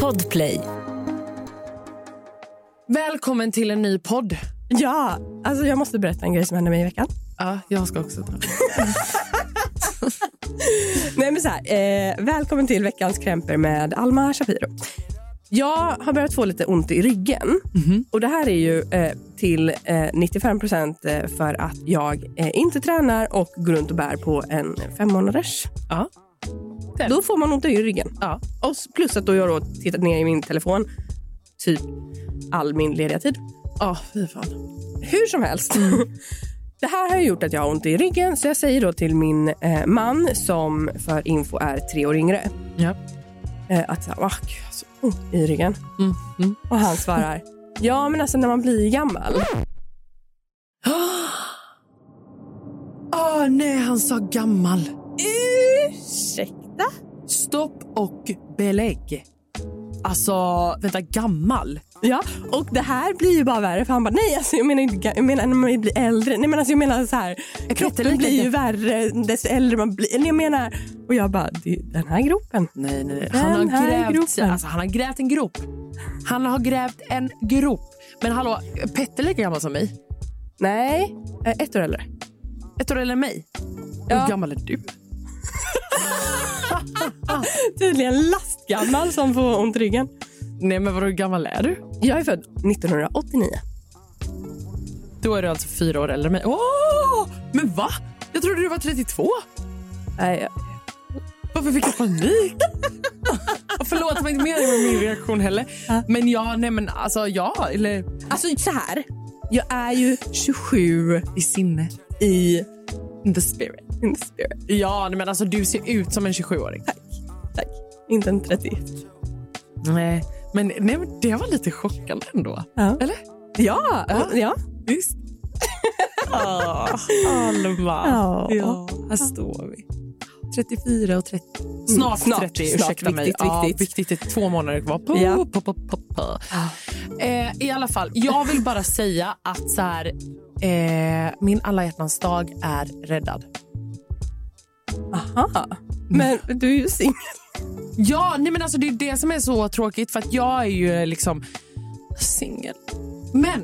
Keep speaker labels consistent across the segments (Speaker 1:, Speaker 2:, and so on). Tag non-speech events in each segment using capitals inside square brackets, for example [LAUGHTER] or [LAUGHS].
Speaker 1: Podplay.
Speaker 2: Välkommen till en ny podd.
Speaker 3: Ja, alltså jag måste berätta en grej som hände mig i veckan.
Speaker 2: Ja, jag ska också ta.
Speaker 3: Nej, men så här, eh, välkommen till veckans krämper med Alma Shapiro. Jag har börjat få lite ont i ryggen. Och Det här är ju eh, till eh, 95 procent eh, för att jag eh, inte tränar och går runt och bär på en fem månaders.
Speaker 2: Ja.
Speaker 3: Då får man ont i ryggen.
Speaker 2: Ja.
Speaker 3: Och s- plus att då jag då tittat ner i min telefon typ all min lediga tid.
Speaker 2: Ja, fy fan.
Speaker 3: Hur som helst. [LAUGHS] Det här har gjort att jag har ont i ryggen så jag säger då till min eh, man som för info är tre år yngre
Speaker 2: Ja.
Speaker 3: eh, att så här, "Åh, gud, jag har så ont i ryggen.
Speaker 2: Mm, [GASPS] mm.
Speaker 3: Och han svarar ja men alltså när man blir gammal.
Speaker 2: Ah, nej, han sa gammal.
Speaker 3: Ursäkta?
Speaker 2: Stopp och belägg. Alltså, vänta, gammal?
Speaker 3: Ja och det här blir ju bara värre för han bara nej alltså jag menar inte ga- jag menar när man blir äldre. Nej men alltså jag menar så här kroppen
Speaker 2: jätteliten-
Speaker 3: blir ju värre desto äldre man blir. Eller jag menar och jag bara "Det- den här gropen.
Speaker 2: Nej, nej, nej.
Speaker 3: Den
Speaker 2: Eh, Han har,
Speaker 3: här
Speaker 2: grävt,
Speaker 3: gropen.
Speaker 2: alltså, han har grävt en grop. Han har grävt en grop. Men hallå, Petter är lika gammal som mig.
Speaker 3: Nej, eh, ett år äldre.
Speaker 2: Ett år äldre än mig.
Speaker 3: Ja.
Speaker 2: Hur gammal är du?
Speaker 3: Tydligen lastgammal som får ont i ryggen.
Speaker 2: Nej, men vadå, hur gammal är du?
Speaker 3: Jag är född 1989.
Speaker 2: Då är du alltså fyra år äldre än mig. Åh! Men va? Jag trodde du var 32.
Speaker 3: Nej,
Speaker 2: Varför fick jag panik? [LAUGHS] Förlåt, det var inte meningen med min reaktion heller. Men ja, nej men alltså ja, eller
Speaker 3: Alltså så här. Jag är ju 27
Speaker 2: i sinne.
Speaker 3: i
Speaker 2: In the spirit.
Speaker 3: in the spirit.
Speaker 2: Ja, nej, men alltså du ser ut som en 27-åring.
Speaker 3: Tack. Inte en 30.
Speaker 2: Nej. Men, nej, men det var lite chockande ändå.
Speaker 3: Ja.
Speaker 2: Eller?
Speaker 3: Ja,
Speaker 2: Ja.
Speaker 3: ja.
Speaker 2: [LAUGHS] Visst? Ah, Alma.
Speaker 3: Ja.
Speaker 2: här står vi. 34 och 30. Mm, Snart,
Speaker 3: snart,
Speaker 2: 30,
Speaker 3: snart.
Speaker 2: ursäkta mig.
Speaker 3: Viktigt,
Speaker 2: ja,
Speaker 3: viktigt.
Speaker 2: viktigt. Det är två månader kvar. Puh,
Speaker 3: Ja.
Speaker 2: puh, puh, puh, puh. Eh, I alla fall, jag vill bara säga att så här, eh, min alla hjärtans dag är räddad.
Speaker 3: Aha. Men du är ju singel.
Speaker 2: Ja, nej men alltså det är det som är så tråkigt för att jag är ju liksom singel. Men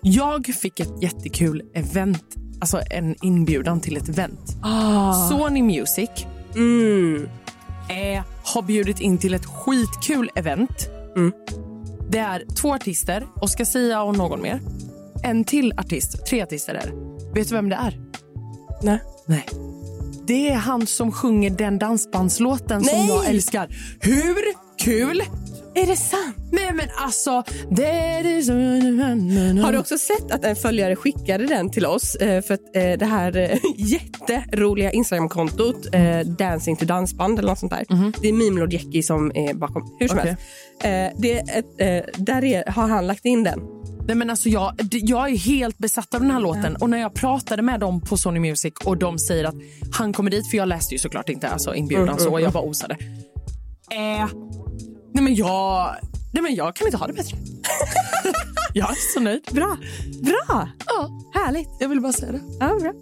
Speaker 2: jag fick ett jättekul event, alltså en inbjudan till ett event.
Speaker 3: Ah.
Speaker 2: Sony Music
Speaker 3: Mm.
Speaker 2: eh, har bjudit in till ett skitkul event.
Speaker 3: Mm.
Speaker 2: Det är två artister, Oscar Sia och någon mer. En till artist, tre artister är det. Vet du vem det är?
Speaker 3: Nej.
Speaker 2: Nej. Det är han som sjunger den dansbandslåten som
Speaker 3: Nej!
Speaker 2: jag älskar. Hur kul?
Speaker 3: Är det sant?
Speaker 2: Nej men alltså... Det
Speaker 3: Har du också sett att en följare skickade den till oss? Eh, För att eh, det här eh, [LAUGHS] jätteroliga Instagramkontot eh, Dancing to dansband eller något sånt där. Det är Mimlord Jecki som är bakom. Hur som
Speaker 2: Okej.
Speaker 3: helst. Eh, Det är ett, eh, där är, har han lagt in den.
Speaker 2: Nej, men alltså jag, d- jag är helt besatt av den här låten. Och När jag pratade med dem på Sony Music och de säger att han kommer dit, för jag läste ju såklart inte alltså inbjudan, så jag bara osade. Eh, nej, men jag, nej, men jag kan inte ha det bättre. [LAUGHS] jag är så nöjd.
Speaker 3: Bra! Bra!
Speaker 2: Ja,
Speaker 3: Härligt!
Speaker 2: jag ville bara säga det.
Speaker 3: Ja, bra.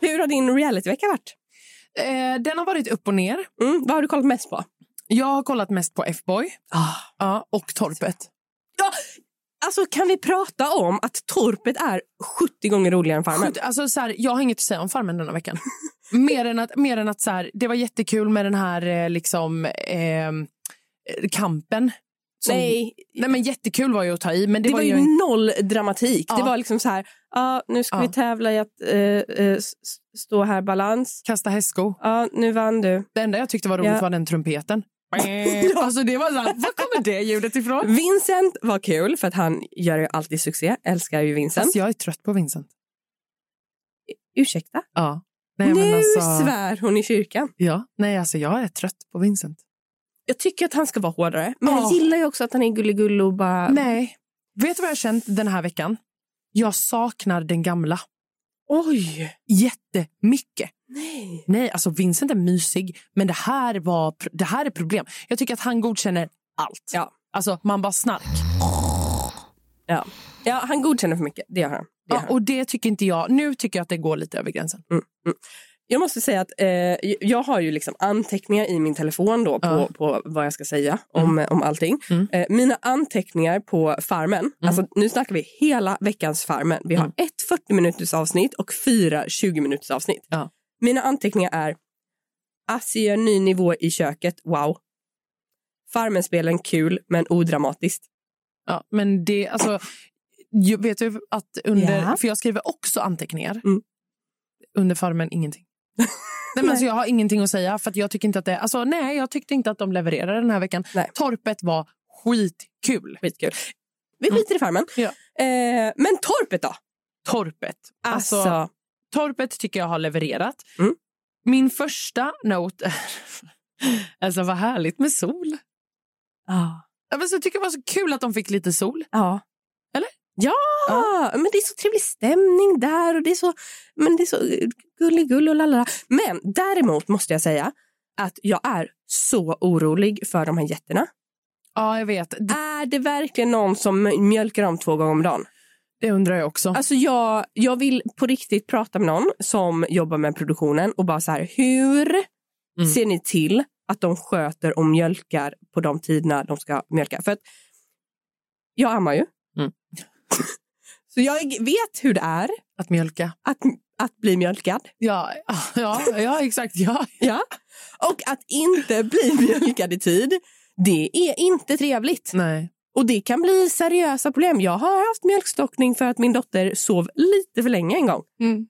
Speaker 3: Hur har din realityvecka varit?
Speaker 2: Eh, den har varit upp och ner.
Speaker 3: Mm, vad har du kollat mest på?
Speaker 2: Jag har kollat mest på F-boy ja, och Torpet.
Speaker 3: Alltså, kan vi prata om att Torpet är 70 gånger roligare än Farmen?
Speaker 2: Sjukt, alltså, så här, jag har inget att säga om Farmen denna veckan. [LAUGHS] mer än att, mer än att så här, det var jättekul med den här eh, liksom, eh, kampen. som-
Speaker 3: Nej,
Speaker 2: Nej, men jättekul var ju att ta i, men det,
Speaker 3: det, var ju
Speaker 2: en-
Speaker 3: noll dramatik.
Speaker 2: Ja.
Speaker 3: Det var liksom så här, ja, nu ska
Speaker 2: Ja.
Speaker 3: vi tävla i att eh, eh, s- stå här balans.
Speaker 2: kasta hästsko.
Speaker 3: Ja, nu vann du.
Speaker 2: Det enda jag tyckte var roligt
Speaker 3: Ja.
Speaker 2: var den
Speaker 3: [LAUGHS]
Speaker 2: trumpeten. [LAUGHS] Alltså det var så här, var kommer det ljudet ifrån?
Speaker 3: Vincent var kul för att han gör ju alltid succé. Älskar ju Vincent.
Speaker 2: Alltså, jag är trött på Vincent.
Speaker 3: Ursäkta?
Speaker 2: Ja. Nej, men
Speaker 3: nu
Speaker 2: alltså,
Speaker 3: svär hon i kyrkan.
Speaker 2: ja. Nej, alltså jag är trött på Vincent.
Speaker 3: Jag tycker att han ska vara hårdare. Men
Speaker 2: Ja.
Speaker 3: jag gillar ju också att han är gulligull och bara...
Speaker 2: Nej. Vet du vad jag har känt den här veckan? Jag saknar den gamla
Speaker 3: Oj!
Speaker 2: jättemycket.
Speaker 3: Nej.
Speaker 2: Nej, alltså Vincent är mysig, men det här, var, det här är problem. Jag tycker att han godkänner allt.
Speaker 3: Ja.
Speaker 2: Alltså, man bara snark.
Speaker 3: Ja. ja, han godkänner för mycket. Det gör han. Det
Speaker 2: Ja,
Speaker 3: gör han.
Speaker 2: och det tycker inte jag. Nu tycker jag att det går lite över gränsen.
Speaker 3: Jag måste säga att eh, jag- jag har ju liksom anteckningar i min telefon då på,
Speaker 2: Ja.
Speaker 3: på vad jag ska säga om, om allting.
Speaker 2: Mm.
Speaker 3: Eh, mina anteckningar på Farmen, alltså nu snackar vi hela veckans Farmen. Vi har
Speaker 2: Mm.
Speaker 3: ett 40 minuters avsnitt och fyra 20 minuters avsnitt.
Speaker 2: Ja.
Speaker 3: Mina anteckningar är Assi gör ny nivå i köket, wow. Farmen-spelen kul men odramatiskt.
Speaker 2: Ja, men det, alltså, jag vet du att under,
Speaker 3: Ja.
Speaker 2: för jag skriver också anteckningar.
Speaker 3: Mm.
Speaker 2: Under farmen
Speaker 3: [LAUGHS]
Speaker 2: ingenting. nej, men alltså, jag har ingenting att säga för att jag tycker inte att det, alltså, nej, jag tyckte inte att de levererade den här veckan.
Speaker 3: Nej.
Speaker 2: Torpet var skitkul.
Speaker 3: Skitkul. Vi skiter i Farmen.
Speaker 2: Mm. Ja.
Speaker 3: Eh, men torpet då?
Speaker 2: Torpet.
Speaker 3: Alltså,
Speaker 2: Torpet tycker jag har levererat.
Speaker 3: Mm.
Speaker 2: Min första note är... [LAUGHS] Alltså vad härligt med sol.
Speaker 3: ja.
Speaker 2: Ja, men så Jag tycker det var så kul att de fick lite sol.
Speaker 3: Ja.
Speaker 2: Eller?
Speaker 3: Ja, men det är så trevlig stämning där och det är så, men det är så gulligull och lalala. Men däremot måste jag säga att jag är så orolig för de här jätterna.
Speaker 2: Ja, jag vet. Det,
Speaker 3: Är det verkligen någon som mjölkar om två gånger om dagen?
Speaker 2: det undrar jag också.
Speaker 3: Alltså jag, jag vill på riktigt prata med någon som jobbar med produktionen och bara så här, hur
Speaker 2: Mm.
Speaker 3: ser ni till att de sköter och mjölkar på de tiderna de ska mjölka? För att jag ammar ju.
Speaker 2: Mm.
Speaker 3: [LAUGHS] så jag vet hur det är
Speaker 2: Att mjölka.
Speaker 3: att, att bli mjölkad.
Speaker 2: Ja, ja, ja exakt. Ja.
Speaker 3: Ja. Och att inte bli [LAUGHS] mjölkad i tid, det är inte trevligt.
Speaker 2: Nej.
Speaker 3: Och det kan bli seriösa problem. Jag har haft mjölkstockning för att min dotter sov lite för länge en gång.
Speaker 2: Mm.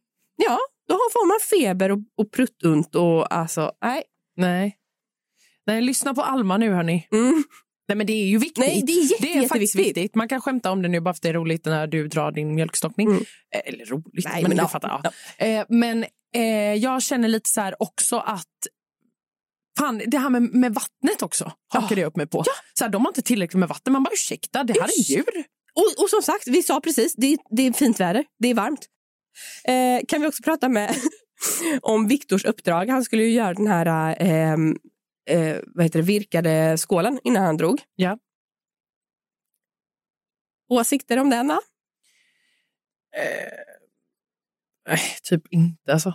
Speaker 3: Då får man feber och, och pruttunt och alltså, nej.
Speaker 2: Nej. Nej, lyssna på Alma nu hörni.
Speaker 3: Mm.
Speaker 2: Nej, men det är ju viktigt.
Speaker 3: Nej, det är jätte,
Speaker 2: det är faktiskt
Speaker 3: jätteviktigt.
Speaker 2: viktigt. Man kan skämta om det nu bara för att det är roligt när du drar din mjölkstockning.
Speaker 3: Mm.
Speaker 2: Eh, Eller roligt, men,
Speaker 3: Nej, men
Speaker 2: du
Speaker 3: ja.
Speaker 2: fattar. Ja. Eh, men eh, jag känner lite så här också att Fan, det här med, med vattnet också hakade jag upp mig på. Så här, de har inte tillräckligt med vatten. Man bara ursäkta, det här är
Speaker 3: Usch.
Speaker 2: djur.
Speaker 3: Och, och som sagt, vi sa precis, det, det är fint väder, det är varmt. Eh, kan vi också prata med [LAUGHS] om Viktors uppdrag? Han skulle ju göra den här ehm, eh, vad heter det, virkade skålen innan han drog.
Speaker 2: Ja.
Speaker 3: Åsikter om den, va?
Speaker 2: Nej, typ inte alltså.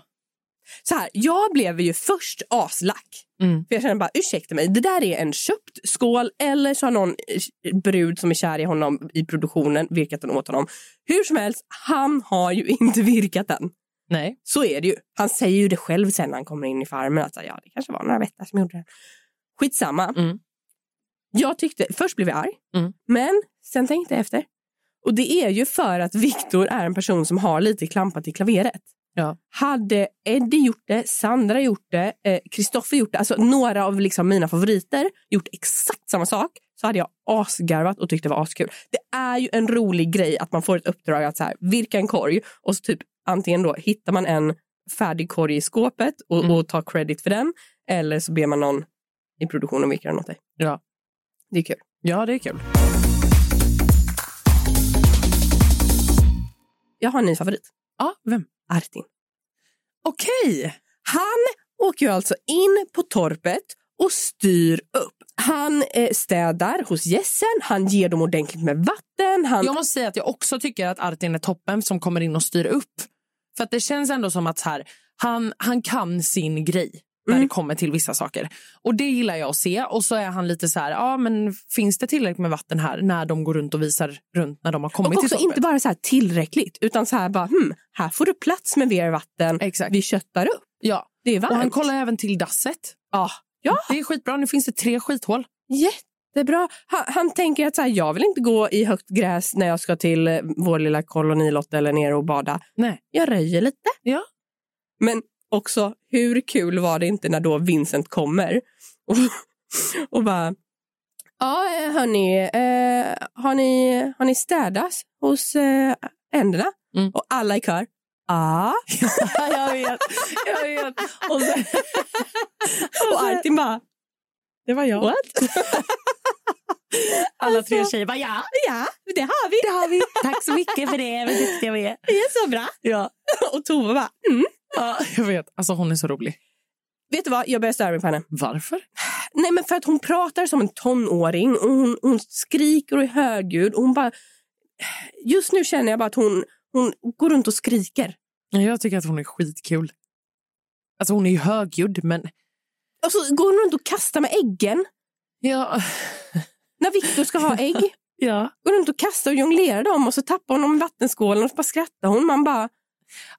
Speaker 3: Så här, jag blev ju först aslack.
Speaker 2: Mm.
Speaker 3: För jag kände bara, ursäkta mig, det där är en köpt skål eller så har någon eh, brud som är kär i honom i produktionen virkat den åt honom. Hur som helst, han har ju [LAUGHS] inte virkat den.
Speaker 2: Nej.
Speaker 3: Så är det ju. Han säger ju det själv sen när han kommer in i farmen. Att, ja, det kanske var några vättar som gjorde det. Skitsamma.
Speaker 2: Mm.
Speaker 3: Jag tyckte, först blev jag arg,
Speaker 2: Mm.
Speaker 3: men sen tänkte jag efter. Och det är ju för att Viktor är en person som har lite klampat i klaveret.
Speaker 2: Ja.
Speaker 3: Hade Eddie gjort det, Sandra gjort det, eh, Kristoffer gjort det, alltså några av liksom mina favoriter gjort exakt samma sak så hade jag asgarvat och tyckt det var askul. Det är ju en rolig grej att man får ett uppdrag att så här, virka en korg och så typ antingen då hittar man en färdig korg i skåpet och,
Speaker 2: Mm.
Speaker 3: och tar credit för den eller så ber man någon i produktionen virka den åt dig.
Speaker 2: Ja.
Speaker 3: Det är kul.
Speaker 2: ja, det är kul.
Speaker 3: Jag har en ny favorit,
Speaker 2: Ja, vem?
Speaker 3: Artin.
Speaker 2: Okej!
Speaker 3: Han åker ju alltså in på torpet och styr upp. Han eh, städar hos gässen, han ger dem ordentligt med vatten. Han...
Speaker 2: Jag måste säga att jag också tycker att Artin är toppen som kommer in och styr upp. För att det känns ändå som att så här, han, han kan sin grej när
Speaker 3: Mm.
Speaker 2: det kommer till vissa saker. Och det gillar jag att se. Och så är han lite så här, ja men finns det tillräckligt med vatten här när de går runt och visar runt när de har kommit
Speaker 3: Och också
Speaker 2: till torpet?
Speaker 3: inte bara så här tillräckligt, utan så här bara, hmm, här får du plats med mer vatten.
Speaker 2: Exakt.
Speaker 3: Vi köttar upp.
Speaker 2: Ja.
Speaker 3: Det är varmt.
Speaker 2: Och han kollar även till dasset.
Speaker 3: Ja.
Speaker 2: Det är skitbra, nu finns det tre skithål. [LAUGHS]
Speaker 3: Jättebra. Han, han tänker att så här, jag vill inte gå i högt gräs när jag ska till eh, vår lilla kolonilott eller ner och bada.
Speaker 2: Nej.
Speaker 3: Jag röjer lite.
Speaker 2: Ja.
Speaker 3: Men också, hur kul var det inte när då Vincent kommer och, [LAUGHS] och bara... Ja, eh, hörni, eh, har, ni, har ni städas hos eh, änderna?
Speaker 2: Mm.
Speaker 3: Och alla i kör. "Ah." Ja.
Speaker 2: [LAUGHS] jag vet, jag vet. Och sen,
Speaker 3: [LAUGHS] Och Artin bara...
Speaker 2: det var jag.
Speaker 3: What?
Speaker 2: Alla tre tjejer bara, ja,
Speaker 3: Ja, det har vi. [LAUGHS]
Speaker 2: det har vi. Tack så mycket för det, vad duktiga vi är.
Speaker 3: Det är så bra.
Speaker 2: Ja.
Speaker 3: Och Tove bara... Mm.
Speaker 2: Ja, jag vet. Alltså hon är så rolig.
Speaker 3: Vet du vad, jag börjar störa mig på henne.
Speaker 2: Varför?
Speaker 3: Nej, men för att hon pratar som en tonåring och hon, hon skriker och är högljudd. Och hon bara... Just nu känner jag bara att hon, hon går runt och skriker.
Speaker 2: Ja, Jag tycker att hon är skitkul. Alltså hon är ju högljudd men...
Speaker 3: Och så går hon runt och kastar med äggen
Speaker 2: Ja.
Speaker 3: när Victor ska ha ägg. [LAUGHS]
Speaker 2: Ja.
Speaker 3: Går runt och kastar och jonglerar dem och så tappar hon dem i vattenskålen och så bara skrattar hon. Man bara,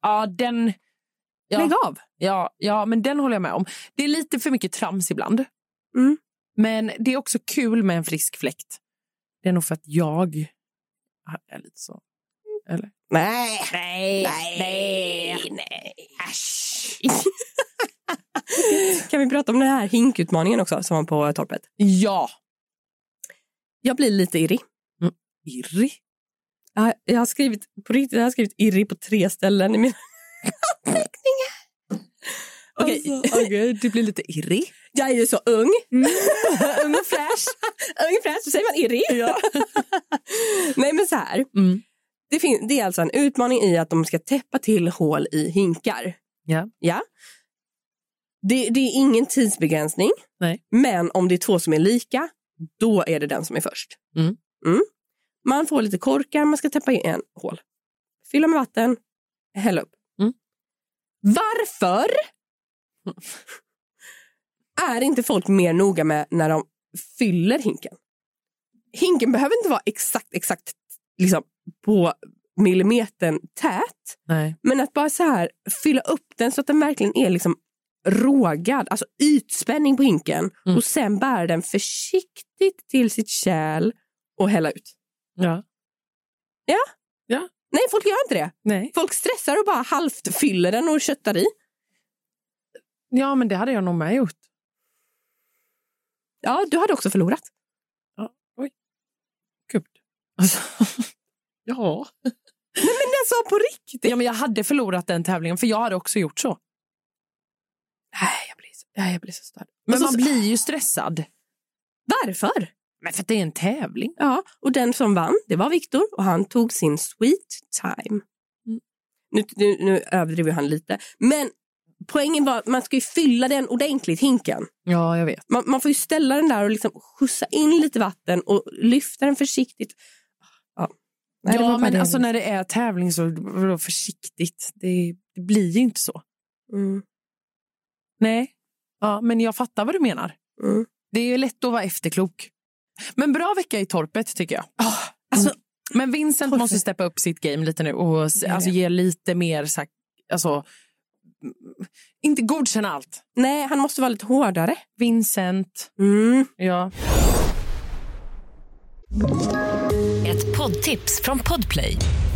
Speaker 2: Ja, den... Ja.
Speaker 3: lägg av.
Speaker 2: Ja, ja, men den håller jag med om. Det är lite för mycket trams ibland.
Speaker 3: Mm.
Speaker 2: Men det är också kul med en frisk fläkt. Det är nog för att jag Ah, är lite så. Eller?
Speaker 3: Nej.
Speaker 2: Nej,
Speaker 3: nej. [LAUGHS] kan vi prata om den här hinkutmaningen också som var på torpet?
Speaker 2: Ja.
Speaker 3: Jag blir lite irrig.
Speaker 2: Irri.
Speaker 3: Jag har, jag har skrivit på riktigt, jag har skrivit irrig på tre ställen i mina [LAUGHS] anteckningar.
Speaker 2: [LAUGHS]
Speaker 3: Okej,
Speaker 2: Alltså, okej, du blir lite irri.
Speaker 3: jag är ju så ung.
Speaker 2: Mm.
Speaker 3: [LAUGHS]
Speaker 2: Ung och fräsch.
Speaker 3: Ung fräsch, då säger man irrig. [LAUGHS] Nej men så här.
Speaker 2: Mm.
Speaker 3: Det, fin- det är alltså en utmaning i att de ska täppa till hål i hinkar.
Speaker 2: Ja.
Speaker 3: ja. Det, det är ingen tidsbegränsning.
Speaker 2: Nej.
Speaker 3: Men om det är två som är lika, då är det den som är först.
Speaker 2: Mm.
Speaker 3: Mm. Man får lite korkar, man ska täppa igen hål. Fylla med vatten, hälla upp.
Speaker 2: Mm.
Speaker 3: Varför är inte folk mer noga med när de fyller hinken? Hinken behöver inte vara exakt, exakt liksom, på millimetern tät.
Speaker 2: Nej.
Speaker 3: Men att bara så här fylla upp den så att den verkligen är liksom rågad, alltså ytspänning på hinken
Speaker 2: Mm.
Speaker 3: och sen bära den försiktigt till sitt kärl och hälla ut.
Speaker 2: Ja.
Speaker 3: Nej, folk gör inte det.
Speaker 2: Nej.
Speaker 3: Folk stressar och bara halvt fyller den och köttar i.
Speaker 2: Ja, men det hade jag nog med gjort.
Speaker 3: Ja, du hade också förlorat.
Speaker 2: Gud. Alltså. ja.
Speaker 3: Men den sa på riktigt.
Speaker 2: ja, men jag hade förlorat den tävlingen för jag hade också gjort så.
Speaker 3: Nej, jag blir så, nej, jag blir så störd.
Speaker 2: Men
Speaker 3: Och så-
Speaker 2: man blir ju stressad.
Speaker 3: Varför?
Speaker 2: Men för att det är en tävling.
Speaker 3: Ja, och den som vann, det var Viktor och han tog sin sweet time.
Speaker 2: Mm.
Speaker 3: Nu, nu, nu överdriver han lite, men poängen var att man ska ju fylla den ordentligt, hinken.
Speaker 2: Ja, jag vet.
Speaker 3: Man, man får ju ställa den där och liksom skjutsa in lite vatten och lyfta den försiktigt. Ja, Nej, det var
Speaker 2: ja,
Speaker 3: bara
Speaker 2: men
Speaker 3: det.
Speaker 2: alltså när det är tävling så vadå, försiktigt. Det, det blir ju inte så.
Speaker 3: Mm,
Speaker 2: Nej. Ja, men jag fattar vad du menar.
Speaker 3: mm.
Speaker 2: Det är ju lätt att vara efterklok. Men bra vecka i torpet tycker jag.
Speaker 3: alltså-
Speaker 2: Mm. Men Vincent
Speaker 3: Torpet.
Speaker 2: måste steppa upp sitt game lite nu och s-
Speaker 3: Ja, ja.
Speaker 2: alltså, ge lite mer så här, alltså, mm, inte godkänna allt.
Speaker 3: Nej, han måste vara lite hårdare.
Speaker 2: Vincent,
Speaker 3: Mm.
Speaker 2: ja.
Speaker 1: Ett poddtips från Podplay.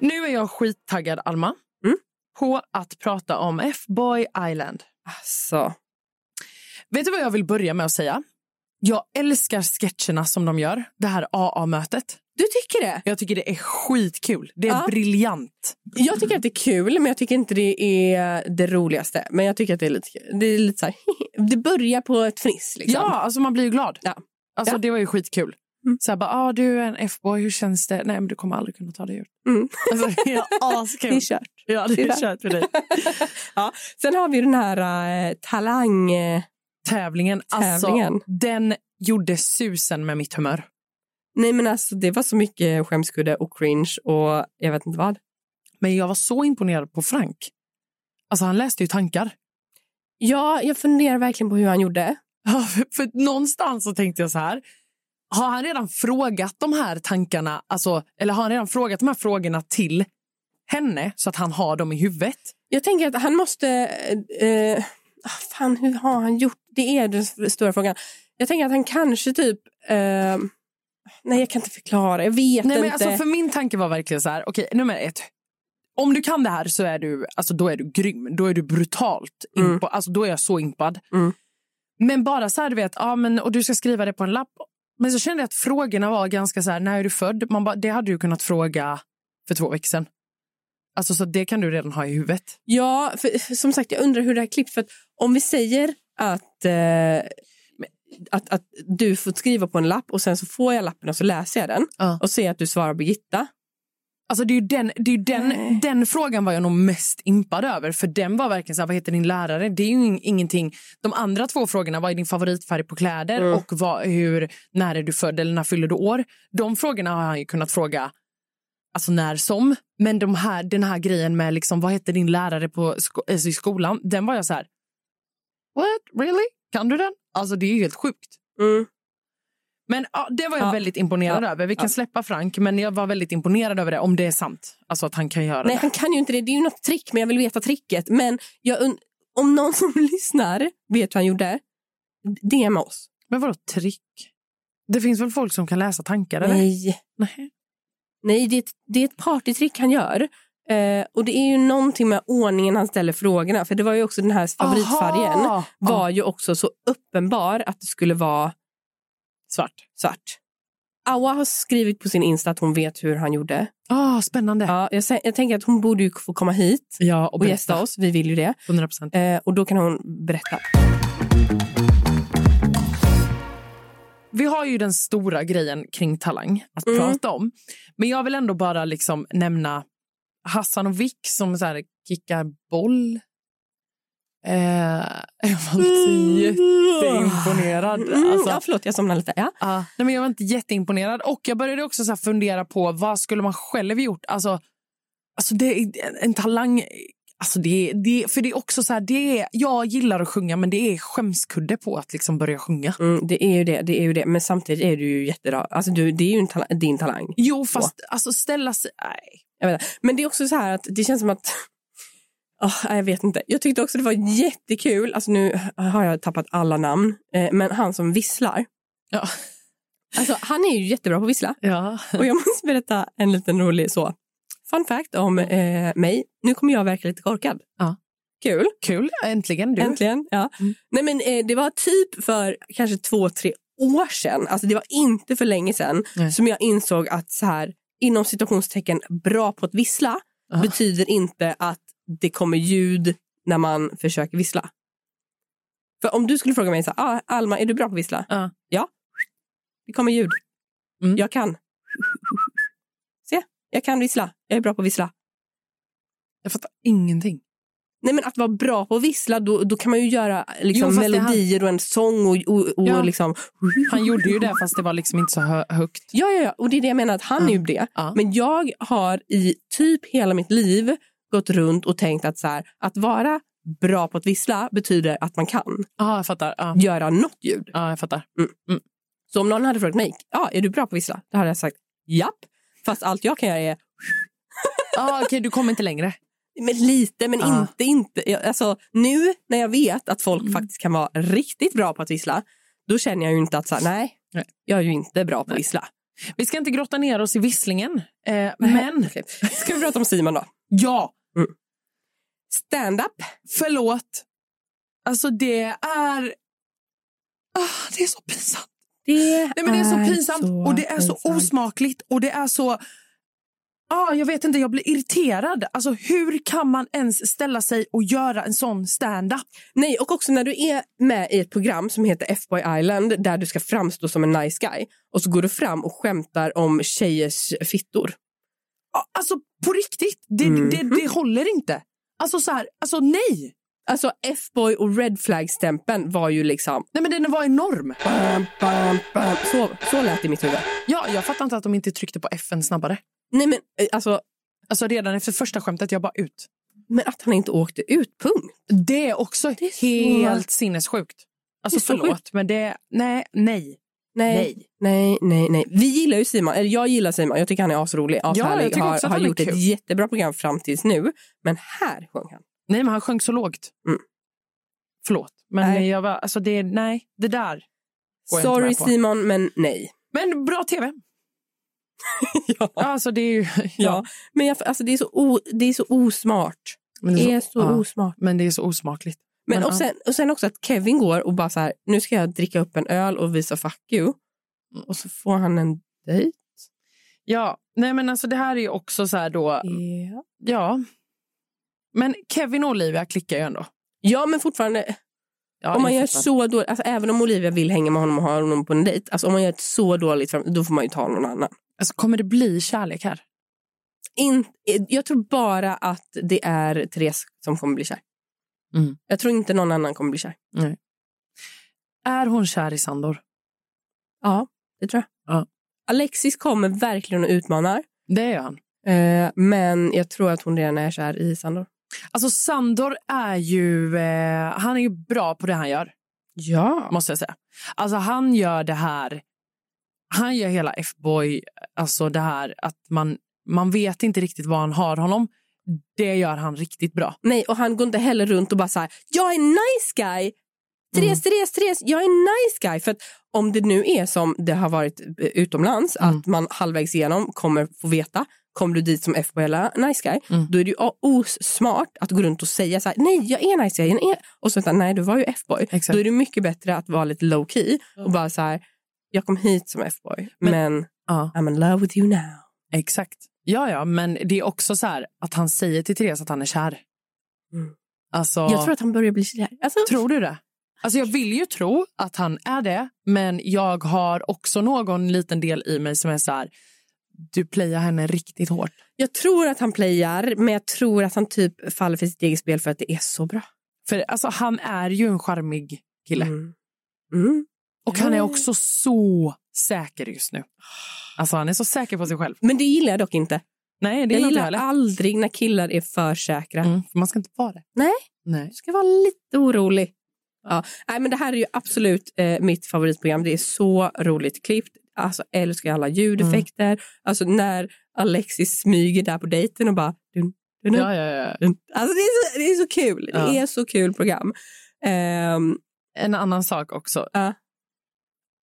Speaker 2: Nu är jag skittaggad, Alma,
Speaker 3: Mm.
Speaker 2: på att prata om F-boy Island.
Speaker 3: Alltså.
Speaker 2: Vet du vad jag vill börja med att säga? Jag älskar sketcherna som de gör, det här AA-mötet.
Speaker 3: Du tycker det?
Speaker 2: Jag tycker det är skitkul. Det är
Speaker 3: Ja.
Speaker 2: briljant.
Speaker 3: Jag tycker att det är kul, men jag tycker inte det är det roligaste. Men jag tycker att det är lite, det är lite så här, [LAUGHS] det börjar på ett fniss. Liksom.
Speaker 2: Ja, alltså man blir ju glad.
Speaker 3: Ja.
Speaker 2: Alltså
Speaker 3: Ja.
Speaker 2: det var ju skitkul.
Speaker 3: Mm.
Speaker 2: Så här bara, ah, du är en F-boy, hur känns det? Nej, men du kommer aldrig kunna ta dig ur.
Speaker 3: Mm.
Speaker 2: Alltså, det är
Speaker 3: Det är
Speaker 2: askul.
Speaker 3: kört.
Speaker 2: Ja, det
Speaker 3: det
Speaker 2: är
Speaker 3: är
Speaker 2: kört för dig.
Speaker 3: Sen har vi den här eh, talang... eh,
Speaker 2: Tävlingen, alltså
Speaker 3: Tävlingen.
Speaker 2: den gjorde susen med mitt humör.
Speaker 3: Nej men alltså det var så mycket skämskudde och cringe och jag vet inte vad.
Speaker 2: Men jag var så imponerad på Frank. Alltså han läste ju tankar.
Speaker 3: Ja, jag funderar verkligen på hur han gjorde.
Speaker 2: [LAUGHS] Ja, för, för någonstans så tänkte jag så här. Har han redan frågat de här tankarna, alltså, eller har han redan frågat de här frågorna till henne så att han har dem i huvudet?
Speaker 3: Jag tänker att han måste... Eh, eh, ah, fan, hur har han gjort? Det är den s- stora frågan. Jag tänker att han kanske typ... Eh, nej, jag kan inte förklara. Jag vet
Speaker 2: Nej, men
Speaker 3: inte.
Speaker 2: alltså, för min tanke var verkligen så här, okej, nummer ett. Om du kan det här så är du, alltså, då är du grym. Då är du brutalt impad. Alltså, då är jag så impad.
Speaker 3: Mm.
Speaker 2: Men bara så här, du vet, ja, men, och du ska skriva det på en lapp. Men så kände jag att frågorna var ganska så här, när är du född? Man bara, det hade du kunnat fråga för två veckor sedan. Alltså, så det kan du redan ha i huvudet.
Speaker 3: Ja, för, som sagt, jag undrar hur det här klipps. För att om vi säger att, eh, att, att du får skriva på en lapp och sen så får jag lappen och så läser jag den
Speaker 2: Ja.
Speaker 3: och ser att du svarar Birgitta.
Speaker 2: Alltså det är ju den, det är ju den, den frågan var jag nog mest impad över. För den var verkligen så här, vad heter din lärare? Det är ju ing- ingenting. De andra två frågorna, vad är din favoritfärg på kläder? Och vad, hur, när är du född eller när fyller du år? De frågorna har han ju kunnat fråga alltså när som. Men de här, den här grejen med liksom, vad heter din lärare på sko- alltså i skolan? Den var jag så här, what, really? Kan du den? Alltså det är ju helt sjukt.
Speaker 3: Mm.
Speaker 2: Men ja, det var jag
Speaker 3: Ja.
Speaker 2: väldigt imponerad
Speaker 3: Ja.
Speaker 2: över. Vi kan
Speaker 3: Ja.
Speaker 2: släppa Frank, men jag var väldigt imponerad över det. Om det är sant. Alltså att han kan göra
Speaker 3: Nej,
Speaker 2: det.
Speaker 3: han kan ju inte det. Det är ju något trick, men jag vill veta tricket. Men jag und- om någon som [LAUGHS] lyssnar vet hur han gjorde, DM oss.
Speaker 2: Men vadå trick? Det finns väl folk som kan läsa tankar? Eller?
Speaker 3: Nej.
Speaker 2: Nej.
Speaker 3: Nej, det är ett, det är ett partytrick han gör. Eh, och det är ju någonting med ordningen han ställer frågorna. För det var ju också den här favoritfärgen.
Speaker 2: Aha! Ja,
Speaker 3: var ju också så uppenbar att det skulle vara
Speaker 2: svart.
Speaker 3: svart. Awa har skrivit på sin Insta att hon vet hur han gjorde.
Speaker 2: Ah, spännande.
Speaker 3: Ja, jag, sä- jag tänker att hon borde ju få komma hit
Speaker 2: Ja, och
Speaker 3: och gästa oss. Vi vill ju det.
Speaker 2: 100 procent.
Speaker 3: Eh, och då kan hon berätta.
Speaker 2: Vi har ju den stora grejen kring Talang att
Speaker 3: Mm.
Speaker 2: prata om. Men jag vill ändå bara liksom nämna Hassan och Vick som så här kickar boll. Eh, [LAUGHS] jag var inte jätteimponerad.
Speaker 3: Mm,
Speaker 2: Alltså,
Speaker 3: ja, förlåt, jag somnade lite. Ja.
Speaker 2: Nej, men jag var inte jätteimponerad. Och jag började också så här fundera på vad skulle man själv gjort? Alltså, alltså det är en- en talang... Alltså det, är- det, är- för det är också så här, det är, jag gillar att sjunga men det är skämskudde på att liksom börja sjunga.
Speaker 3: Mm, det är ju det, det är ju det. Men samtidigt är du ju jättebra. Alltså, du, det är ju en tala- din talang.
Speaker 2: Jo, fast alltså ställa sig... Nej.
Speaker 3: Men det är också så här att det känns som att... [LAUGHS] Ah, nej, jag vet inte. Jag tyckte också det var jättekul. Alltså nu har jag tappat alla namn. Eh, men han som visslar.
Speaker 2: Ja.
Speaker 3: Alltså, han är ju jättebra på att vissla.
Speaker 2: Ja.
Speaker 3: Och jag måste berätta en liten rolig så. Fun fact om eh, mig. Nu kommer jag verka lite korkad.
Speaker 2: Ja.
Speaker 3: Kul.
Speaker 2: Kul, äntligen du.
Speaker 3: Äntligen. Ja.
Speaker 2: Mm.
Speaker 3: Nej, men, eh, det var typ för kanske två, tre år sedan. Alltså, det var inte för länge sedan
Speaker 2: Nej.
Speaker 3: som jag insåg att så här, inom situationstecken bra på att vissla
Speaker 2: Ja.
Speaker 3: betyder inte att det kommer ljud när man försöker vissla. För om du skulle fråga mig så här, ah, Alma, är du bra på att vissla?
Speaker 2: Ja.
Speaker 3: Ja. Det kommer ljud.
Speaker 2: Mm.
Speaker 3: Jag kan. Se, jag kan vissla. Jag är bra på att vissla.
Speaker 2: Jag fattar ingenting.
Speaker 3: Nej men att vara bra på att vissla, då, då kan man ju göra liksom,
Speaker 2: Jo, fast det här-
Speaker 3: melodier och en sång och, och, och
Speaker 2: Ja.
Speaker 3: liksom...
Speaker 2: Han gjorde ju det fast det var liksom inte så hö- högt.
Speaker 3: Ja, ja, ja, och det är det jag menar att han
Speaker 2: Ja.
Speaker 3: är ju det.
Speaker 2: Ja.
Speaker 3: Men jag har i typ hela mitt liv gått runt och tänkt att så här, att vara bra på att vissla betyder att man kan
Speaker 2: Ja, jag fattar. Ja,
Speaker 3: göra något ljud.
Speaker 2: ja jag fattar.
Speaker 3: Så om någon hade frågat mig, ja, är du bra på att vissla? Då hade jag sagt japp, fast allt jag kan göra är
Speaker 2: Ah, Okej, du kommer inte längre.
Speaker 3: men lite, men
Speaker 2: Ja. Mm.
Speaker 3: inte, inte. Jag- Alltså, nu när jag vet att folk faktiskt kan vara riktigt bra på att vissla, då känner jag ju inte att så här, nej,
Speaker 2: Nej.
Speaker 3: jag är ju inte bra på att vissla.
Speaker 2: Vi ska inte grotta ner oss i visslingen. Eh, men...
Speaker 3: Ska vi prata om Simon då? Mm.
Speaker 2: Ja,
Speaker 3: Stand-up.
Speaker 2: förlåt. Alltså det är... Ah, det är så pinsamt.
Speaker 3: Det,
Speaker 2: Nej, men det är så pinsamt och det är så
Speaker 3: pinsamt.
Speaker 2: osmakligt och det är så... Ah, jag vet inte, jag blir irriterad. Alltså hur kan man ens ställa sig och göra en sån stand-up?
Speaker 3: Nej, och också när du är med i ett program som heter F-boy Island där du ska framstå som en nice guy och så går du fram och skämtar om tjejers fittor.
Speaker 2: Ah, alltså på riktigt, det,
Speaker 3: Mm.
Speaker 2: det, det håller inte. Alltså så här, alltså nej.
Speaker 3: Alltså F-boy och red flag-stämpeln var ju liksom...
Speaker 2: Nej men den var enorm.
Speaker 3: Bam, bam, bam. Så, så lät det i mitt huvud.
Speaker 2: Ja, jag fattar inte att de inte tryckte på FN snabbare.
Speaker 3: Nej, men eh, alltså
Speaker 2: Alltså redan efter första skämtet, jag bara ut.
Speaker 3: Men att han inte åkte ut, punkt.
Speaker 2: Det är också
Speaker 3: är så-
Speaker 2: helt sinnessjukt. Alltså
Speaker 3: Det är så
Speaker 2: förlåt, men det... Nej, nej. Nej.
Speaker 3: nej, nej, nej. Vi gillar ju Simon, eller jag gillar Simon, jag tycker han är asrolig,
Speaker 2: Ja, jag
Speaker 3: ashärlig,
Speaker 2: tycker också
Speaker 3: har,
Speaker 2: att
Speaker 3: har
Speaker 2: han är
Speaker 3: gjort
Speaker 2: kul.
Speaker 3: ett jättebra program fram tills nu. Men här sjöng han.
Speaker 2: Nej, men han sjöng så lågt.
Speaker 3: Mm.
Speaker 2: Förlåt, men
Speaker 3: Nej.
Speaker 2: jag var... Alltså det... Nej, det där. Går jag inte
Speaker 3: Sorry
Speaker 2: med på.
Speaker 3: Simon, men nej.
Speaker 2: Men bra tv.
Speaker 3: [LAUGHS] ja.
Speaker 2: Ja, Alltså, det är ju, ja.
Speaker 3: ja. Men jag, alltså, det, är så o, det är så osmart.
Speaker 2: Men
Speaker 3: Det är
Speaker 2: så,
Speaker 3: så
Speaker 2: ja.
Speaker 3: osmart.
Speaker 2: Men det är så osmakligt.
Speaker 3: Men,
Speaker 2: Men,
Speaker 3: och,
Speaker 2: ja.
Speaker 3: sen, och sen också att Kevin går och bara så här, nu ska jag dricka upp en öl och visa fuck you.
Speaker 2: Mm.
Speaker 3: Och så får han en dejt.
Speaker 2: Ja, nej men alltså det här är ju också så här då,
Speaker 3: Mm.
Speaker 2: ja. Men Kevin och Olivia klickar ju ändå.
Speaker 3: Ja, men fortfarande,
Speaker 2: Ja,
Speaker 3: om man
Speaker 2: jag
Speaker 3: gör
Speaker 2: fattar.
Speaker 3: så dåligt, alltså, även om Olivia vill hänga med honom och ha honom på en dejt, alltså, om man gör ett så dåligt, fram- då får man ju ta någon annan.
Speaker 2: Alltså, kommer det bli kärlek här?
Speaker 3: In, eh, jag tror bara att det är Therese som kommer bli kär.
Speaker 2: Mm.
Speaker 3: Jag tror inte någon annan kommer bli kär.
Speaker 2: Är hon kär i Sandor?
Speaker 3: Ja, det tror jag.
Speaker 2: Ja.
Speaker 3: Alexis kommer verkligen och utmanar,
Speaker 2: Det är han.
Speaker 3: eh, men jag tror att hon redan är kär i Sandor.
Speaker 2: Alltså Sandor är ju, eh, han är ju bra på det han gör.
Speaker 3: Ja.
Speaker 2: måste jag säga. Alltså han gör det här, han gör hela F-boy, alltså det här att man, man vet inte riktigt vad han har honom. Det gör han riktigt bra.
Speaker 3: Nej, och han går inte heller runt och bara så här, jag är nice guy. Therese, Therese, Therese, jag är nice guy. För att om det nu är som det har varit eh, utomlands,
Speaker 2: Mm.
Speaker 3: att man halvvägs igenom kommer få veta, kommer du dit som FBL nice guy,
Speaker 2: Mm.
Speaker 3: då är det ju o- osmart att gå runt och säga så här, nej jag är nice guy, jag är... och så vänta, nej du var ju F-boy.
Speaker 2: Exakt.
Speaker 3: Då är det mycket bättre att vara lite low key och bara så här, jag kom hit som F-boy, men,
Speaker 2: Ja.
Speaker 3: I'm in love with you now.
Speaker 2: Exakt. Ja, ja, men det är också så här att han säger till Therese att han är kär.
Speaker 3: Mm.
Speaker 2: Alltså,
Speaker 3: Jag tror att han börjar bli kär. Alltså,
Speaker 2: tror du det? Alltså jag vill ju tro att han är det, men jag har också någon liten del i mig som är så här, du playar henne riktigt hårt.
Speaker 3: Jag tror att han playar, men jag tror att han typ faller för sitt eget spel för att det är så bra.
Speaker 2: För alltså, han är ju en charmig kille.
Speaker 3: Mm. Mm.
Speaker 2: Och han är också så säker just nu. Alltså han är så säker på sig själv.
Speaker 3: Men det gillar jag dock inte.
Speaker 2: Nej, det gillar
Speaker 3: jag
Speaker 2: inte jag
Speaker 3: gillar
Speaker 2: heller.
Speaker 3: aldrig när killar är för säkra.
Speaker 2: Mm, för man ska inte vara det.
Speaker 3: Nej.
Speaker 2: Nej.
Speaker 3: Du ska vara lite orolig. Ja. Nej, men det här är ju absolut eh, mitt favoritprogram. Det är så roligt klippt. Alltså, jag älskar alla ljudeffekter.
Speaker 2: Mm.
Speaker 3: Alltså när Alexis smyger där på dejten och bara... Dun, dun, dun,
Speaker 2: Ja, ja, ja.
Speaker 3: dun. Alltså, det, är så, det är så kul.
Speaker 2: Ja.
Speaker 3: Det är så kul program. Ehm,
Speaker 2: En annan sak också.
Speaker 3: Ja.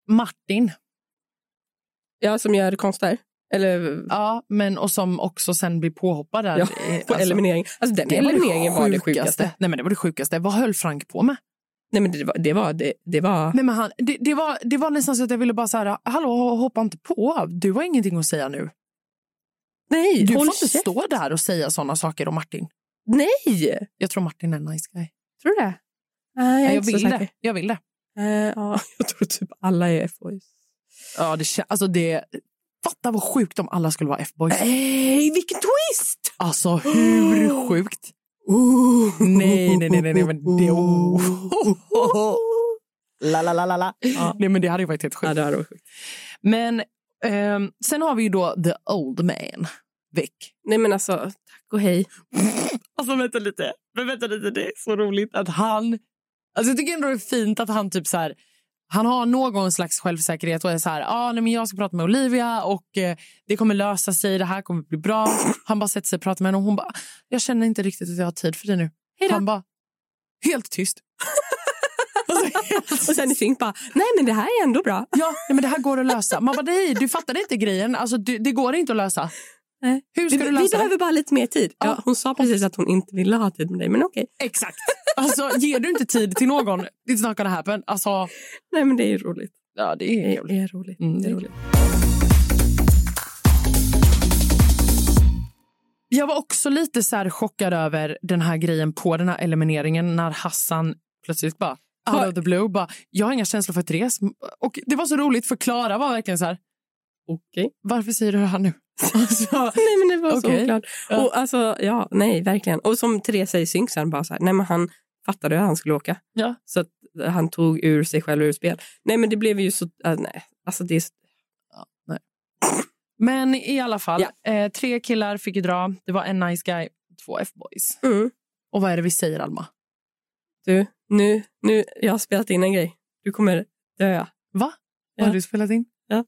Speaker 2: Martin.
Speaker 3: ja, som gör konster. Eller
Speaker 2: Ja, men och som också sen blir påhoppad där.
Speaker 3: Ja,
Speaker 2: Eh, alltså,
Speaker 3: på eliminering. Alltså den
Speaker 2: det var det
Speaker 3: elimineringen var det sjukaste.
Speaker 2: Nej, men det var det sjukaste. Vad höll Frank på med?
Speaker 3: Nej men det var, det var, det, det var...
Speaker 2: Nej, men han, det, det, var, det var nästan så att jag ville bara så här, hallå, hoppa inte på. Du har ingenting att säga nu.
Speaker 3: Nej,
Speaker 2: Du
Speaker 3: håll
Speaker 2: får inte
Speaker 3: käft.
Speaker 2: stå där och säga sådana saker om Martin.
Speaker 3: Nej!
Speaker 2: Jag tror Martin är en nice guy.
Speaker 3: Tror du det? Nej,
Speaker 2: Jag, jag
Speaker 3: är inte så
Speaker 2: vill
Speaker 3: säker.
Speaker 2: det. Jag vill det.
Speaker 3: Eh, ja, [LAUGHS] jag tror typ alla är FOIs.
Speaker 2: Ja, det, kä- alltså det, fatta vad sjukt om alla skulle vara F-boys.
Speaker 3: Nej, vilken twist!
Speaker 2: Alltså hur sjukt? Nej, nej, nej, nej, nej, men det... Oh.
Speaker 4: [LAUGHS] La, la, la, la, la.
Speaker 2: Nej, men det hade ju varit helt
Speaker 3: Ja,
Speaker 2: sjukt.
Speaker 3: det var sjukt.
Speaker 2: Men ehm, sen har vi ju då the old man, Vic.
Speaker 3: Nej men alltså, tack och hej.
Speaker 2: [LAUGHS] Alltså vänta lite, men vänta lite, det är så roligt att han... Alltså jag tycker ändå det är fint att han typ så här... Han har någon slags självsäkerhet och är så här, ah, nej, men jag ska prata med Olivia och eh, det kommer lösa sig, det här kommer bli bra. Han bara sätter sig och pratar med henne och hon bara, jag känner inte riktigt att jag har tid för det nu.
Speaker 3: Hej då.
Speaker 2: Han bara, helt
Speaker 3: [LAUGHS]
Speaker 2: tyst. alltså, helt
Speaker 3: [LAUGHS] Och sen i synk bara, nej men det här är ändå bra.
Speaker 2: Ja, nej, men det här går att lösa. Man bara, nej, du fattade inte grejen. Alltså, du, det går inte att lösa.
Speaker 3: Nej.
Speaker 2: Hur
Speaker 3: Vi,
Speaker 2: ska du lösa
Speaker 3: vi
Speaker 2: det?
Speaker 3: behöver bara lite mer tid. Ja,
Speaker 2: Ja.
Speaker 3: hon sa precis att hon inte ville ha tid med dig, men okej.
Speaker 2: Exakt. Alltså, ger du inte tid till någon, it's not gonna happen. Alltså,
Speaker 3: Nej men det är ju roligt.
Speaker 2: ja, det är
Speaker 3: Det
Speaker 2: jävligt.
Speaker 3: är roligt.
Speaker 2: Mm,
Speaker 3: Det
Speaker 2: det
Speaker 3: är
Speaker 2: är
Speaker 3: roligt.
Speaker 2: Jag var också lite så här chockad över den här grejen på den här elimineringen när Hassan plötsligt bara out
Speaker 3: Har-
Speaker 2: of the blue bara, jag har inga känslor för Therese. Och det var så roligt för Klara var verkligen så här,
Speaker 3: Okej.
Speaker 2: varför säger du det här nu? [LAUGHS] Alltså,
Speaker 3: [LAUGHS] Nej, men det var så
Speaker 2: Okej.
Speaker 3: oklart.
Speaker 2: Ja.
Speaker 3: Och alltså, ja, nej, verkligen. Och som Therese säger i synk sen, bara så här, nej men han fattade att han skulle åka.
Speaker 2: Ja.
Speaker 3: Så att eh, han tog ur sig själv ur spel. Nej, men det blev ju så, äh, nej, alltså det är så,
Speaker 2: men i alla fall, eh, tre killar fick ju dra. Det var en nice guy, två F-boys.
Speaker 3: mm,
Speaker 2: Och vad är det vi säger, Alma?
Speaker 3: du, nu, nu, jag har spelat in en grej. Du kommer dö.
Speaker 2: Va?
Speaker 3: Ja.
Speaker 2: Vad har du spelat in?
Speaker 3: Ja.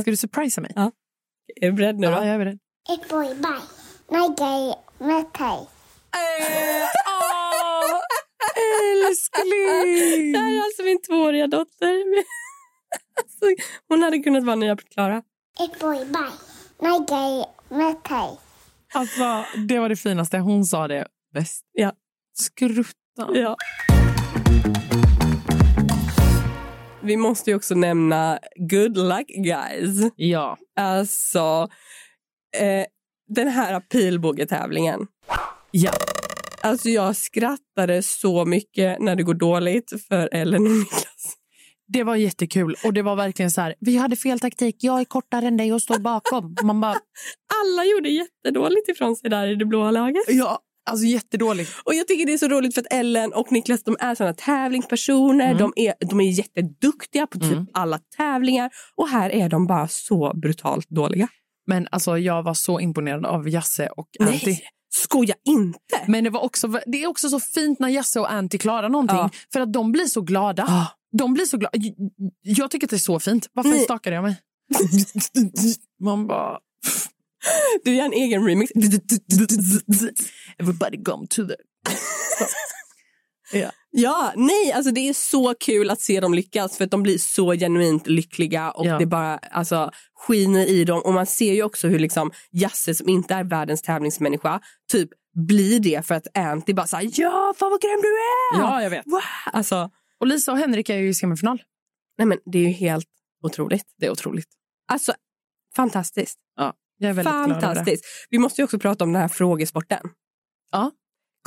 Speaker 2: Ska du surprisa mig?
Speaker 3: Ja. Är du beredd nu då?
Speaker 2: Ja, jag är beredd.
Speaker 5: Egg boy, bye. My day, my tie.
Speaker 2: Åh, älskling!
Speaker 3: [LAUGHS] Det här är alltså min tvååriga [LAUGHS] dotter. alltså, hon hade kunnat vara nya Klara.
Speaker 5: Egg boy, bye. Nigel Matai.
Speaker 2: Alltså, det var det finaste. Hon sa det bäst.
Speaker 3: Ja.
Speaker 2: Skrutta.
Speaker 3: Ja. Vi måste ju också nämna Good Luck Guys.
Speaker 2: Ja.
Speaker 3: Alltså, eh, den här pilbågetävlingen.
Speaker 2: Ja.
Speaker 3: Alltså jag skrattade så mycket när det går dåligt för Ellen och Niklas.
Speaker 2: Det var jättekul. Och det var verkligen så här, vi hade fel taktik. Jag är kortare än dig och står bakom. Man bara,
Speaker 3: Alla gjorde jättedåligt ifrån sig där i det blåa laget.
Speaker 2: ja, alltså jättedåligt.
Speaker 3: Och jag tycker det är så roligt för att Ellen och Niklas de är såna tävlingspersoner. De, är, de är jätteduktiga på typ
Speaker 2: Mm.
Speaker 3: alla tävlingar. Och här är de bara så brutalt dåliga.
Speaker 2: Men alltså, jag var så imponerad av Jasse och Antti.
Speaker 3: Nej, skoja inte!
Speaker 2: Men det, var också, det är också så fint när Jasse och Antti klarar någonting.
Speaker 3: Ja.
Speaker 2: För att de blir så glada. De blir så glada. J- Jag tycker att det är så fint. Varför
Speaker 3: Nej.
Speaker 2: stakade jag mig? Man bara...
Speaker 3: Du gör en egen remix.
Speaker 2: Everybody come to the...
Speaker 3: Ja, nej, alltså det är så kul att se dem lyckas för att de blir så genuint lyckliga och
Speaker 2: Ja.
Speaker 3: det bara alltså, skiner i dem. Och man ser ju också hur liksom Jasse som inte är världens tävlingsmänniska typ blir det för att Anty bara såhär ja, fan vad grym du är!
Speaker 2: jag vet.
Speaker 3: Wow! Alltså,
Speaker 2: Och Lisa och Henrik är ju i semifinal.
Speaker 3: nej men det är ju helt otroligt.
Speaker 2: Det är otroligt.
Speaker 3: Alltså, fantastiskt.
Speaker 2: Jag är väldigt glad över det.
Speaker 3: Fantastiskt. Vi måste ju också prata om den här frågesporten.
Speaker 2: Ja.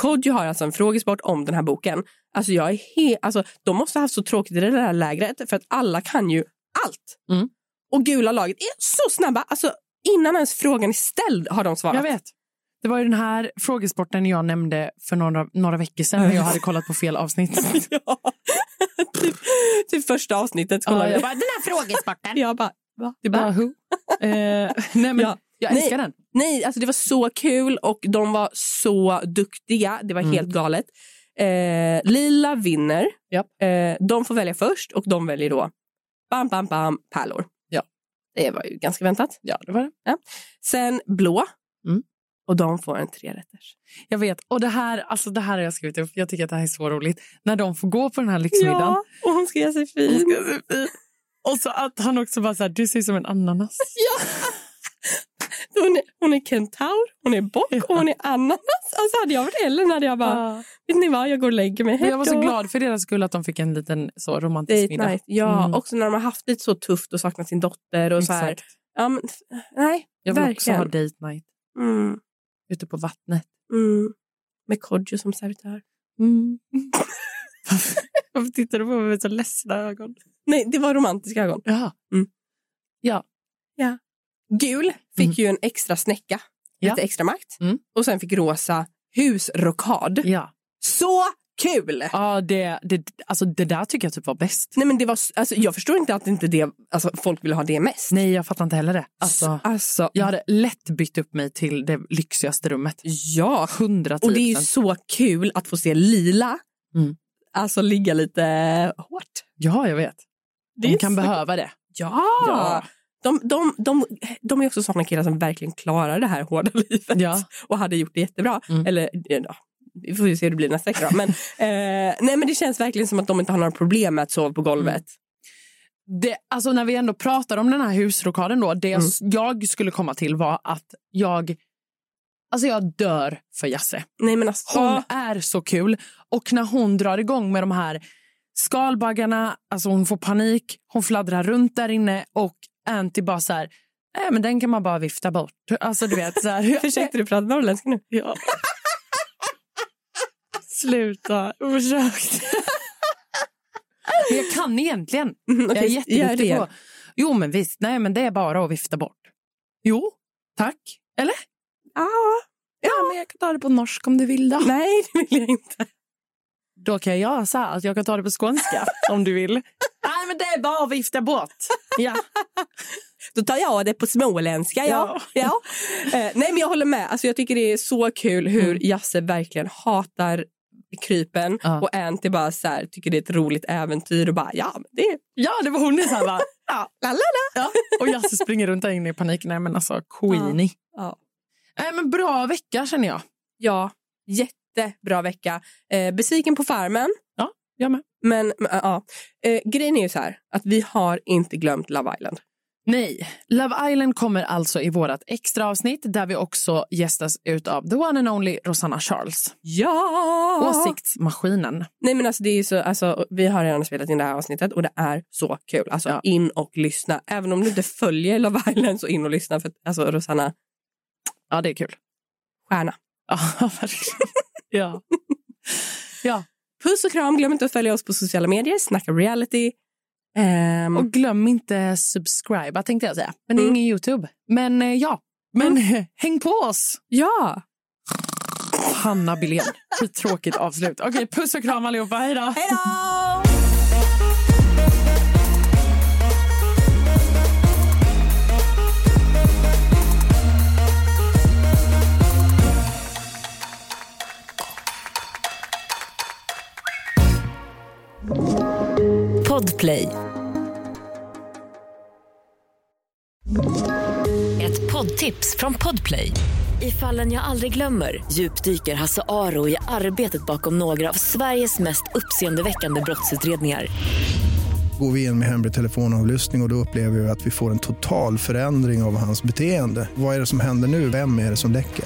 Speaker 3: Kodjo har alltså en frågesport om den här boken. Alltså jag är he- alltså, de måste ha haft så tråkigt i det där lägret för att alla kan ju allt.
Speaker 2: Mm.
Speaker 3: Och gula laget är så snabba. Alltså, innan ens frågan är ställd har de svarat.
Speaker 2: Jag vet. Det var ju den här frågesporten jag nämnde för några, några veckor sedan när jag hade kollat på fel avsnitt.
Speaker 3: [LAUGHS] [LAUGHS] ja. typ, typ första avsnittet. kollar
Speaker 2: Ja, jag
Speaker 3: vi.
Speaker 2: bara, den här frågesporten!
Speaker 3: jag bara, va? Det är bara,
Speaker 2: Bara, who? Eh, nej, men
Speaker 3: Ja.
Speaker 2: jag
Speaker 3: Nej.
Speaker 2: älskar den.
Speaker 3: Nej, alltså det var så kul och de var så duktiga. Det var
Speaker 2: Mm.
Speaker 3: helt galet. Eh, Lila vinner.
Speaker 2: Japp.
Speaker 3: Eh, de får välja först och de väljer då bam, bam, bam, pärlor.
Speaker 2: Ja.
Speaker 3: Det var ju ganska väntat.
Speaker 2: Ja, det var det.
Speaker 3: Sen blå.
Speaker 2: Mm.
Speaker 3: Och de får en trerätters.
Speaker 2: Jag vet. Och det här, alltså det här har jag skrivit upp. Jag tycker att det här är så roligt. När de får gå på den här lyxmiddagen.
Speaker 3: och hon ska göra sig
Speaker 2: Hon
Speaker 3: fin.
Speaker 2: ska se fin. Och så att han också bara så här, du ser ut som en
Speaker 3: [LAUGHS]
Speaker 2: ananas.
Speaker 3: Hon är, hon är kentaur, hon är bock och hon är ananas. Alltså hade jag varit Ellen hade jag bara,
Speaker 2: Ja.
Speaker 3: vet ni vad, jag går och lägger mig.
Speaker 2: Men jag var så
Speaker 3: Hejdå.
Speaker 2: glad för deras skull att de fick en liten så romantisk
Speaker 3: Date
Speaker 2: middag.
Speaker 3: night. Ja,
Speaker 2: Mm.
Speaker 3: också när de har haft det så tufft och saknat sin dotter och så här.
Speaker 2: Exakt.
Speaker 3: Ja, men, f- nej,
Speaker 2: Jag vill också
Speaker 3: verkligen.
Speaker 2: ha date night
Speaker 3: Mm,
Speaker 2: ute på vattnet.
Speaker 3: mm. Med Kodjo som servitör. Mm.
Speaker 2: [LAUGHS] Varför tittar du på mig med så ledsna ögon?
Speaker 3: Nej, det var romantiska ögon.
Speaker 2: Ja.
Speaker 3: Gul fick
Speaker 2: Mm.
Speaker 3: ju en extra snäcka,
Speaker 2: Ja.
Speaker 3: lite extra makt.
Speaker 2: Mm.
Speaker 3: Och sen fick rosa husrockad.
Speaker 2: ja.
Speaker 3: Så kul!
Speaker 2: ja det, det, alltså, det där tycker jag typ var bäst.
Speaker 3: Nej, men det var, s- alltså, jag förstår inte att inte det, alltså, folk ville ha det mest.
Speaker 2: Nej, jag fattar inte heller det. Alltså,
Speaker 3: Alltså,
Speaker 2: jag hade lätt bytt upp mig till det lyxigaste rummet.
Speaker 3: ja.
Speaker 2: 100
Speaker 3: Och det är ju så kul att få se lila
Speaker 2: Mm.
Speaker 3: alltså ligga lite hårt.
Speaker 2: Ja, jag vet.
Speaker 3: Det är
Speaker 2: De kan
Speaker 3: så-
Speaker 2: behöva det.
Speaker 3: Ja!
Speaker 2: Ja.
Speaker 3: De, de, de, de är också sådana killar som verkligen klarar det här hårda [LAUGHS] livet
Speaker 2: Ja.
Speaker 3: och hade gjort det jättebra.
Speaker 2: Mm.
Speaker 3: Eller, ja, vi får ju se hur det blir nästa vecka.
Speaker 2: [LAUGHS]
Speaker 3: då. Men, eh, nej, men det känns verkligen som att de inte har några problem med att sova på golvet.
Speaker 2: Mm. det, alltså när vi ändå pratar om den här husrokaden då, det jag-
Speaker 3: Mm.
Speaker 2: jag skulle komma till var att jag, alltså jag dör för Jasse.
Speaker 3: Nej, men alltså,
Speaker 2: Hon är så kul. Och när hon drar igång med de här skalbaggarna, alltså hon får panik, hon fladdrar runt där inne och Anty bara så här, nej men den kan man bara vifta bort. Alltså du vet så
Speaker 3: [LAUGHS]
Speaker 2: här.
Speaker 3: Försökte du prata norrländska nu?
Speaker 2: Ja. Sluta, försökte. Men jag kan egentligen.
Speaker 3: Mm,
Speaker 2: Jag är
Speaker 3: [LAUGHS] okej, gör
Speaker 2: jätteduktig
Speaker 3: det.
Speaker 2: på... Jo, men visst. Nej, men det är bara att vifta bort. Jo, tack. Eller?
Speaker 3: Ja.
Speaker 2: Ja, men jag kan ta det på norsk om du vill då.
Speaker 3: Nej, det [LAUGHS] vill jag inte.
Speaker 2: Då kan jag säga att jag kan ta det på
Speaker 3: [LAUGHS]
Speaker 2: skånska om du vill. Nej, men det är bara att vifta bort. Ja.
Speaker 3: Då tar jag det på småländska. Ja. [LAUGHS] Ja. Eh, nej, men jag håller med. Alltså, jag tycker det är så kul hur
Speaker 2: Mm.
Speaker 3: Jasse verkligen hatar krypen
Speaker 2: Ja.
Speaker 3: och Anty bara så här, tycker det är ett roligt äventyr och bara ja, men det
Speaker 2: ja, det var hon. Så här, bara, ja.
Speaker 3: la, la,
Speaker 2: Ja. Och Jasse springer runt där inne i panik. Nej, men alltså, Queenie.
Speaker 3: Ja.
Speaker 2: Nej, men bra vecka känner jag.
Speaker 3: Ja, jättebra vecka. Eh, besviken på Farmen.
Speaker 2: Ja, jag med.
Speaker 3: Eh, Men men, ja, ja. eh, grejen är ju så här att vi har inte glömt Love Island.
Speaker 2: Nej. Love Island kommer alltså i vårt extra avsnitt där vi också gästas ut av the one and only Rosanna Charles.
Speaker 3: Ja!
Speaker 2: Åsiktsmaskinen.
Speaker 3: Nej men alltså det är ju så, alltså, vi har redan spelat in det här avsnittet och det är så kul. Alltså
Speaker 2: Ja.
Speaker 3: in och lyssna. Även om du inte följer Love Island så in och lyssna för att, alltså Rosanna,
Speaker 2: Ja, det är kul.
Speaker 3: stjärna.
Speaker 2: Ja, [LAUGHS] verkligen. ja. ja.
Speaker 3: Puss och kram, glöm inte att följa oss på sociala medier, snacka reality. Ehm,
Speaker 2: Och glöm inte subscribe tänkte jag säga. Men det är
Speaker 3: Mm.
Speaker 2: ingen Youtube. Men eh, ja, men eh, häng på oss.
Speaker 3: ja!
Speaker 2: Hanna Billén. Tråkigt avslut. Okej, puss och kram allihopa. Hej då.
Speaker 3: Hej då!
Speaker 1: Podplay. Ett poddtips från Podplay. I fallen jag aldrig glömmer djupdyker Hasse Aro i arbetet bakom några av Sveriges mest uppseendeväckande brottsutredningar.
Speaker 6: Går vi in med hemlig telefonavlyssning och, och då upplever vi att vi får en total förändring av hans beteende. Vad är det som händer nu? Vem är det som läcker?